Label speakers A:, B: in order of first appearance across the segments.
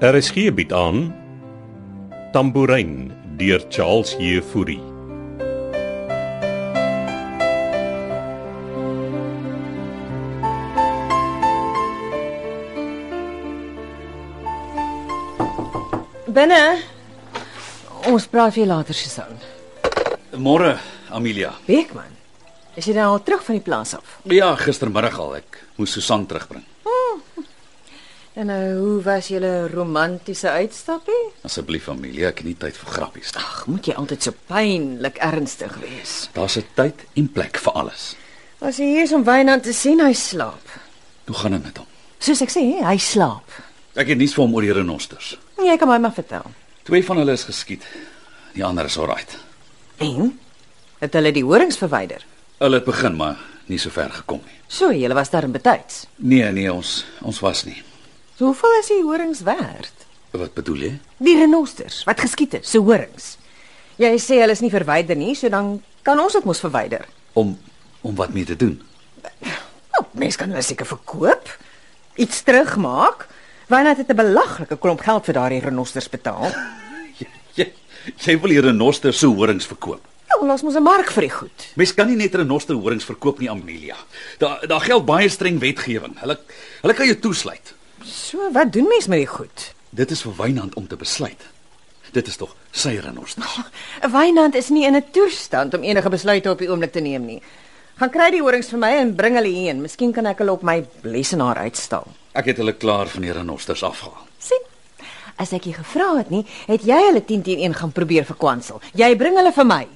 A: RSG bied Er aan Tambourin deur Charles Jefouri.
B: Binne. Ons praat weer later, Susan.
C: Môre, Amelia.
B: Beekman. Is jy nou al terug van die plaas af?
C: Ja, gistermiddag al ek moes Susan terugbring.
B: En nou, hoe was julle romantiese uitstappie?
C: Asseblief, Amelia, ek het nie tyd vir grappies nie.
B: Ag, moet jy altyd so pynlik ernstig wees?
C: Daar's 'n tyd en plek vir alles.
B: As jy hier is om Wynand te sien, hy slaap.
C: Hoe gaan dit met hom?
B: Soos ek sê, hy slaap. Nee,
C: Ek het nuus vir hom oor die renosters.
B: Jy kan my maar vertel.
C: Twee van hulle is geskiet. Die ander is alright.
B: En het hulle die horings verwyder?
C: Hulle het begin maar nie so ver gekom nie.
B: So, julle was daar in betyds.
C: Nee, nee, ons ons was nie.
B: So, hoeveel is die horings werd?
C: Wat bedoel jy?
B: Die renosters wat geskiet is, se horings. Jy sê hulle is nie verwyder nie, so dan kan ons dit mos verwyder.
C: Om om wat mee te doen?
B: Oh, mens kan hulle seker verkoop, iets terugmaak. Wynand het 'n belaglike klomp geld vir daardie renosters betaal.
C: Jy jy, jy wil die renosters se horings verkoop.
B: Ja, ons moet 'n mark vir die goed.
C: Mens kan nie net renosterhorings verkoop nie, Amelia. Daar daar geld baie streng wetgewing. Hulle hulle kan jou toesluit.
B: So, wat doen mens met die goed?
C: Dit is vir Wynand om te besluit. Dit is tog sy renosters.
B: 'n Wynand is nie in 'n toestand om enige besluite op die oomblik te neem nie. Gaan kry die horings vir my en bring hulle hierheen. Miskien kan ek hulle op my lesenaar uitstal.
C: Ek het hulle klaar van die renosters afgehaal.
B: sien? As ek jy gevra het nie, het jy hulle 10 teen 1 gaan probeer verkwansel. Jy bring hulle vir my.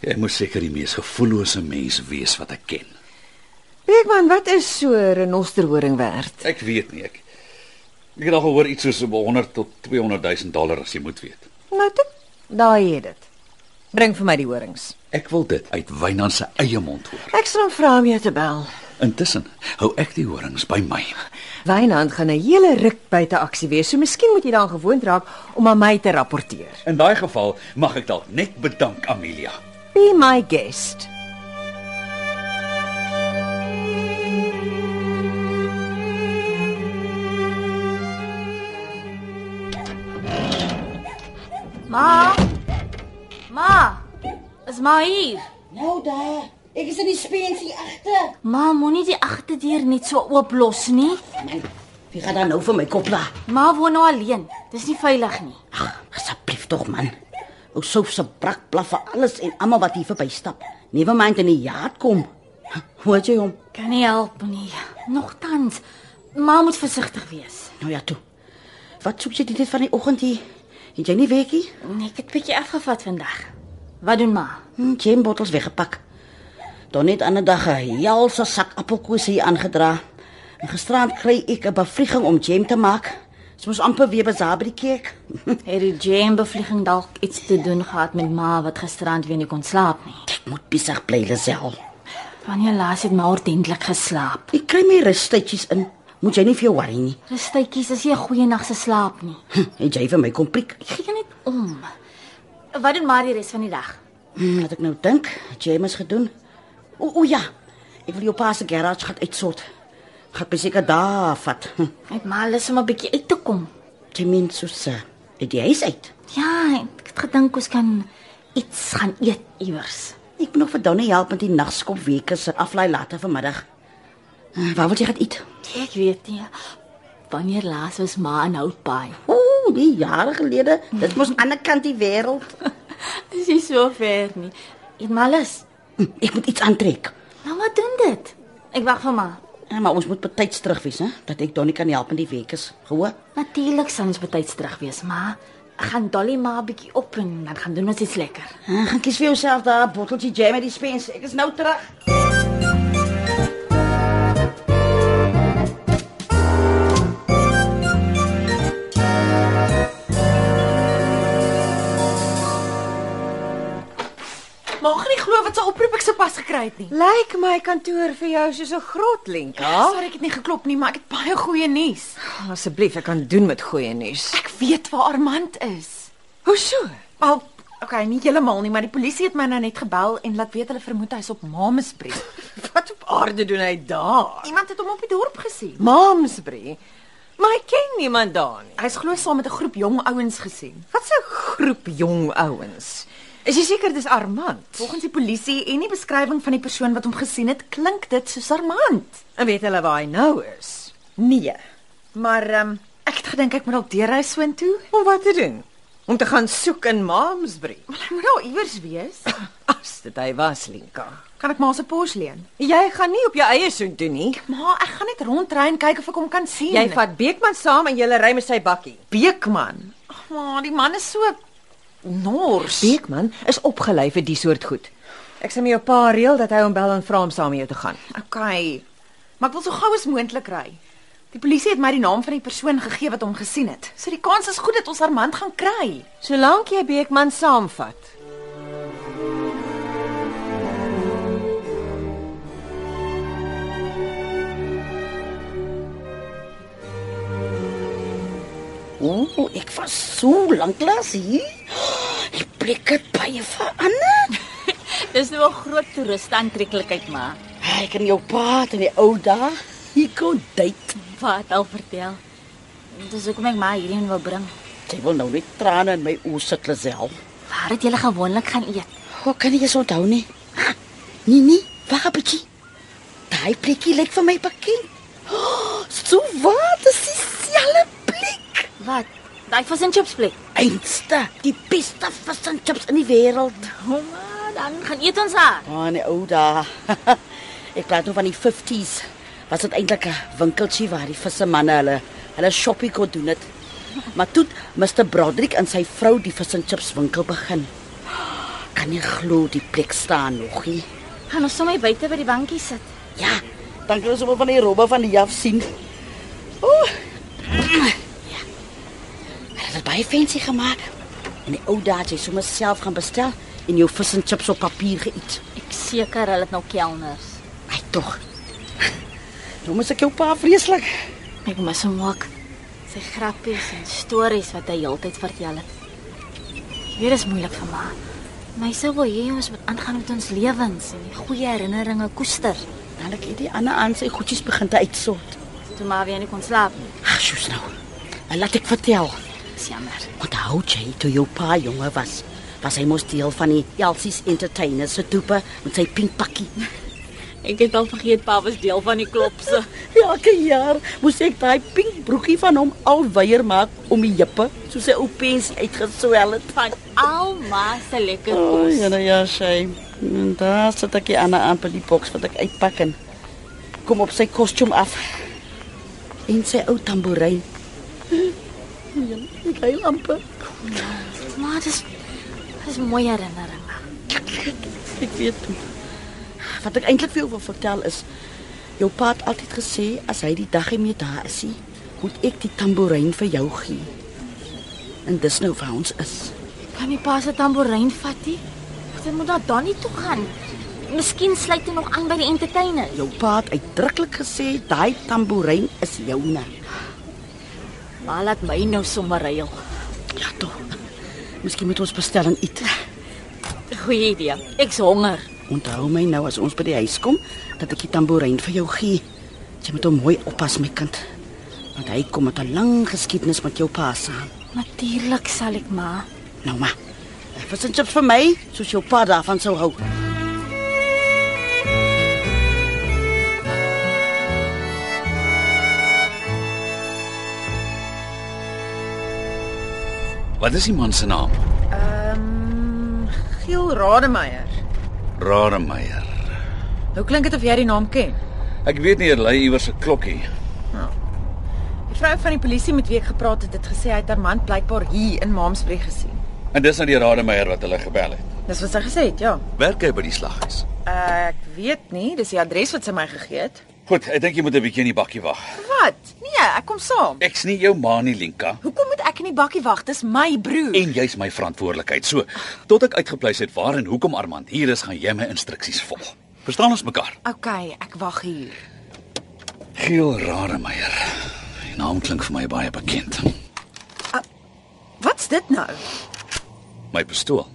C: Jy moet seker die mees gevoellose mens wees wat ek ken.
B: Beekman, wat is so 'n renosterhoring werd?
C: Ek weet nie ek. Ek het al gehoor iets soos 100 tot 200 000 dollar as jy moet weet.
B: Nou toe, daai het dit. Bring vir my die horings.
C: Ek wil dit uit Wynand se eie mond hoor.
B: Ek sal hom vra om jou te bel.
C: Intussen hou ek die horings by my.
B: Wynand gaan 'n hele ruk buite aksie wees, so miskien moet jy daaraan gewoond raak om aan my te rapporteer.
C: In daai geval mag ek dalk net bedank, Amelia.
B: Be my guest.
D: Ma. Ma. Is maar hier.
E: Nou daar. Ek is in die spensie agter.
D: Ma, moenie die agterdeur net so oop los nie.
E: Man, wie gaan dan nou vir my kop la?
D: Ma woon nou alleen. Dis nie veilig nie.
E: Ag, asseblief tog man. Ou sof se brak blaf vir alles en almal wat hier verby stap. Never mind in die jaat kom. Hoe het jy hom?
D: Kan nie help nie. Nogtans, ma moet versigtig wees.
E: Nou ja toe. Wat soek jy dit van die oggend hier? Het jy nie weekie?
D: Nee, ek het bietjie afgevat vandag. Wat doen ma?
E: Hm, Jane bottels weggepak. Dan net ander dag 'n helse sak appelkoes hier aangedra. En gisterand kry ek 'n bevlieging om jam te maak. Ons moes amper weer besaar by die kerk.
D: Het die jam bevlieging dalk iets te doen gehad met ma wat gisterand weer nie kon slaap nie?
E: Ek moet besig bly lesel.
D: Wanneer laas het ma ordentlik geslaap?
E: Ek kry my rustydjies in. Moet jy nie vir jou worry nie.
D: Rustytjies, is jy 'n goeie nag se slaap nie?
E: Hm, het jy vir my kom prik?
D: Gee net om. Wat doen ma die res van die dag?
E: Hm, laat ek nou dink, het jy mos gedoen? O, o ja. Ek wil jou pa se garage gaan uitsort. Gaan beseker daar vat. Hm,
D: Ek maar lus om 'n bietjie uit te kom.
E: jy meen soos uh, uit die huis uit.
D: Ja, ek het gedink ons kan iets gaan eet iewers.
E: Ek moet nog vir Donnie help met die nagskop weke se aflaai later vanmiddag. Hm, Waar wil jy gaan eet?
D: Nee, Ek weet nie. Wanneer laas was ma in Houtbaai?
E: O, die jare gelede. Dit mos aan die ander kant die wêreld.
D: Dis nie so ver nie. Eet maar lus.
E: Hm, ek moet iets aantrek.
D: Nou wat doen dit? Ek wag vir ma.
E: Ja, maar ons moet betyds terug wees, hè, dat ek Donnie kan help met die weke se. Gehoor?
D: Natuurlik sal ons betyds terug wees, ma. Ek gaan Dolly maar 'n bietjie op en dan gaan doen ons iets lekker.
E: Ah, gaan kies vir jouself daar 'n botteltjie jam uit die spens. Ek is nou terug.
F: Mag nie glo wat se oproep ek sopas gekry het nie.
B: Lyk my kantoor vir jou soos 'n grot,
D: Ja?
B: Lenka.
F: Sorry ek het nie geklop nie, maar ek het baie goeie nuus.
B: Asseblief, ek kan doen met goeie nuus.
F: Ek weet waar Armand is.
B: Hoe so?
F: Wel, okay, nie heeltemal nie, maar die polisie het my nou net gebel en laat weet hulle vermoed hy's op Mamesbrie.
B: Wat op aarde doen hy daar?
F: Iemand het hom op die dorp gesien.
B: Mamsbury. Maar ek ken niemand daar nie.
F: Hy's glo saam met 'n groep jong ouens gesien.
B: Wat 'n groep jong ouens. Is jy seker dis Armand?
F: Volgens die polisie en die beskrywing van die persoon wat hom gesien het, klink dit soos Armand.
B: En weet hulle waar hy nou is?
F: Nee. Maar ehm ek het gedink ek moet dalk deurry soontoe.
B: Om wat te doen? Om te gaan soek in Maamsbury.
F: Maar hy moet daar iewers wees.
B: As dit hy was, Linka.
F: Kan ek maar se pos leen?
B: Jy gaan nie op jou eie soek doen nie.
F: Maar ek gaan net rondry en kyk of ek hom kan sien.
B: Jy vat Beekman saam en jy ry met sy bakkie.
F: Beekman. Ag maar, die man is so nors.
B: Beekman is opgelei vir die soort goed. Ek sê my jou pa reël dat hy hom bel en vra om saam met jou te gaan.
F: Okay. Maar ek wil so gou as moontlik ry. Die polisie het my die naam van die persoon gegee wat hom gesien het. So die kans is goed dat ons Armand gaan kry.
B: Solank jy Beekman saamvat.
E: Ooh, ek was so lank lank hier. Die plek het baie verander.
D: Dis nou 'n groot toeriste aantreklikheid maar.
E: Ek en jou pa het in die ou dae hier kon date.
D: Wat al vertel. Dis hoekom ek maar hierheen wil bring.
E: Jy wil nou net trane in my oë sit self.
D: Waar het julle gewoonlik gaan eet?
E: Hoe kan jy so onthou nie? Ha, Nee nee, wag 'n bietjie. Daai plekkie lyk vir my bekend. Oh, so wat? Dis dieselfde plek.
D: Wat? Daai vis en chips plek.
E: Einste, die beste vis en chips in die wêreld.
D: Homa, dan gaan eet ons daar.
E: Ah, nee, ou da. ek praat nou van die 50s. Was dit eintlik 'n winkeltjie waar die visse manne hulle hulle shoppie kon doen het. Maar toe het Mr Broderick en sy vrou die vis en chips winkel begin. Kan nie glo die plek staan nog nie.
D: Gaan ons sommer buite by die bankie sit.
E: Ja, dan kan ons sommer van die robbe van die jaf sien. Ooh. Ja. Hulle het baie fancy gemaak. En die ou daad jy sommer self gaan bestel en jou vis en chips op papier geëet.
D: Ek seker hulle het nou kelners.
E: Ai tog. Nou moet ek jou pa vreeslik.
D: Ek mis hom ook. Sy grappies en stories wat hy heeltyd vertel het. Hier is moeilik vir my. My sou wil hê ons moet aangaan met ons lewens en die goeie herinneringe koester.
E: Dan ek hierdie ander aan sy goedjies begin te uitsort.
D: Toe maar weer nie kon slaap nie.
E: Ag, sjoes nou. Nou laat ek vertel.
D: Dis jammer.
E: Onthou jy toe jou pa jonger was, was hy mos deel van die Elsie's Entertainers se toepe met sy pink pakkie.
D: Ek het al vergeet pa was deel van die klopse.
E: Elke jaar moes ek daai pink broekie van hom al weier maak om die heupe, soos sy ou pensie uitgeswel het.
D: van almal se lekker
E: O,
D: kos.
E: ja, nou ja, sy. En daar sit ek die ander aan by die boks wat ek uitpak en kom op sy kostuum af. En sy ou tamboerijn. Ja, ek hy amper.
D: Maar dis dis mooi herinneringe.
E: Ek weet toe. Wat ek eintlik vir jou wil vertel is jou pa het altyd gesê as hy die dag nie meer daar is nie, moet ek die tamboerijn vir jou gee. En dis nou vir ons is.
D: Kan nie pa se tamboerijn vat nie. Dit moet daar dan nie toe gaan. Miskien sluit hy nog aan by die entertainer. "Ja,
E: Jou pa het uitdruklik gesê daai tamboerijn is joune.
D: Maar laat my nou sommer reël.
E: Ja tog. Miskien moet ons bestel en eet.
D: Goeie idee. Ek's honger.
E: Onthou my nou as ons by die huis kom dat ek die tamboerijn vir jou gee. Jy moet hom mooi oppas my kind. Want hy kom met 'n lang geskiedenis met jou pa saam.
D: Natuurlik sal ek maar.
E: Nou maar. Wat is dit vir my? Soos jou pa daarvan sou hou.
C: Wat is die man se naam?
F: Ehm, Giel Rademeier.
C: Rademeier.
F: Hoe klink dit of jy die naam ken? Ja.
C: Ek weet nie, hy lei iewers 'n klokkie.
F: Die vrou van die polisie met wie ek gepraat het, het gesê hy het Armand blykbaar hier in Maamsbury gesien.
C: En dis nou die Rademeier wat hulle gebel het.
F: Dis wat sy gesê het, ja.
C: Werk hy by die slaghuis?
F: Ek weet nie, dis die adres wat sy my gegee het.
C: Goed, ek dink jy moet 'n bietjie in die bakkie wag.
F: Wat? Nee, ek kom saam.
C: Ek's nie jou ma nie, Linka,
F: Hoekom moet ek in die bakkie wag? Dis my broer.
C: en jy's my verantwoordelikheid. So, tot ek uitgepleis het waar en hoekom Armand hier is, gaan jy my instruksies volg. Verstaan ons mekaar?
F: Okay, ek wag hier.
C: Giel Rademeier. Die naam klink vir my baie bekend.
F: Wat's dit nou?
C: My pistool.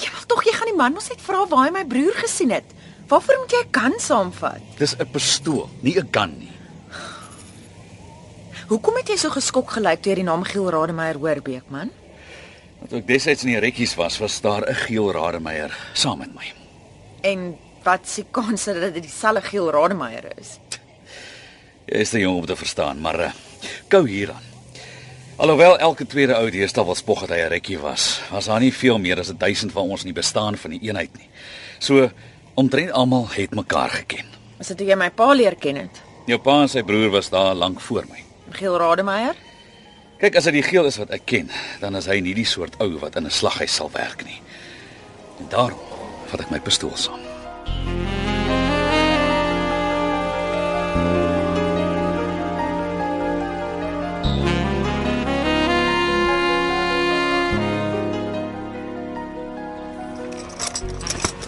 F: Jy wil tog jy gaan die man mos net vra waar hy my broer gesien het. Waarvoor moet jy 'n kan saamvat?
C: Dis 'n pistool, nie 'n gun nie.
F: Hoekom het jy so geskok gelyk toe jy die naam Giel Rademeier hoor, Beekman?
C: Toe ek destyds in die rekkies was, was daar 'n geel rademeier saam met my.
F: En wat se kans dat dit dieselfde Giel Rademeier is?
C: Jy is te jong om te verstaan, maar uh, kou hieraan. Alhoewel elke tweede ou deesdae wel spog dat hy 'n rekkie was, was daar nie veel meer as 1000 van ons in die bestaan van die eenheid nie. So omtrent almal het mekaar geken.
F: Is dit hoe jy my pa leer ken het?
C: Jou pa en sy broer was daar lank voor my.
F: Giel Rademeier?
C: Kyk, as dit die geel is wat ek ken, dan is hy nie die soort ou wat in 'n slaghuis sal werk nie. En daarom vat ek my pistool saam.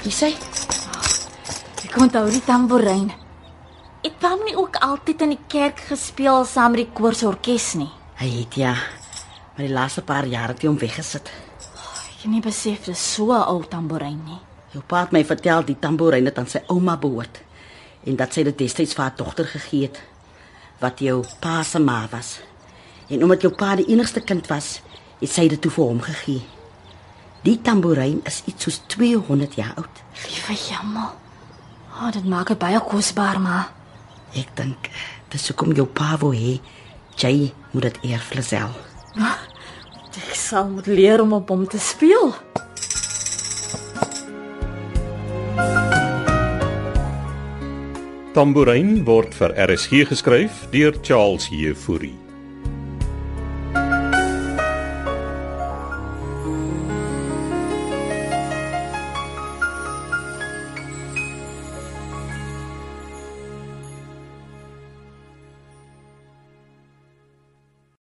E: Hier sê,
D: Ek onthou die tamboerijn. Het Pam nie ook altyd in die kerk gespeel saam met die koorsorkes nie?
E: hy het ja, maar die laaste paar jaar het hy hom weggesit.
D: Ek het nie besef dis so 'n ou tamboerijn nie.
E: Jou pa het my vertel die tamboerijn het aan sy ouma behoort en dat sy dit destyds vir haar dogter gegee het wat jou pa se ma was. En omdat jou pa die enigste kind was, het sy dit toe vir hom gegee. Die tamboerijn is iets soos 200 jaar oud.
D: Liewe jammer. Ah, oh, dit maak dit baie kosbaar maar.
E: Ek dink dis hoekom jou pa wou hê jy moet dit eer vir self.
D: Ek sal moet leer om op hom te speel.
A: Tambourin word vir RSG geskryf deur Charles Heffury.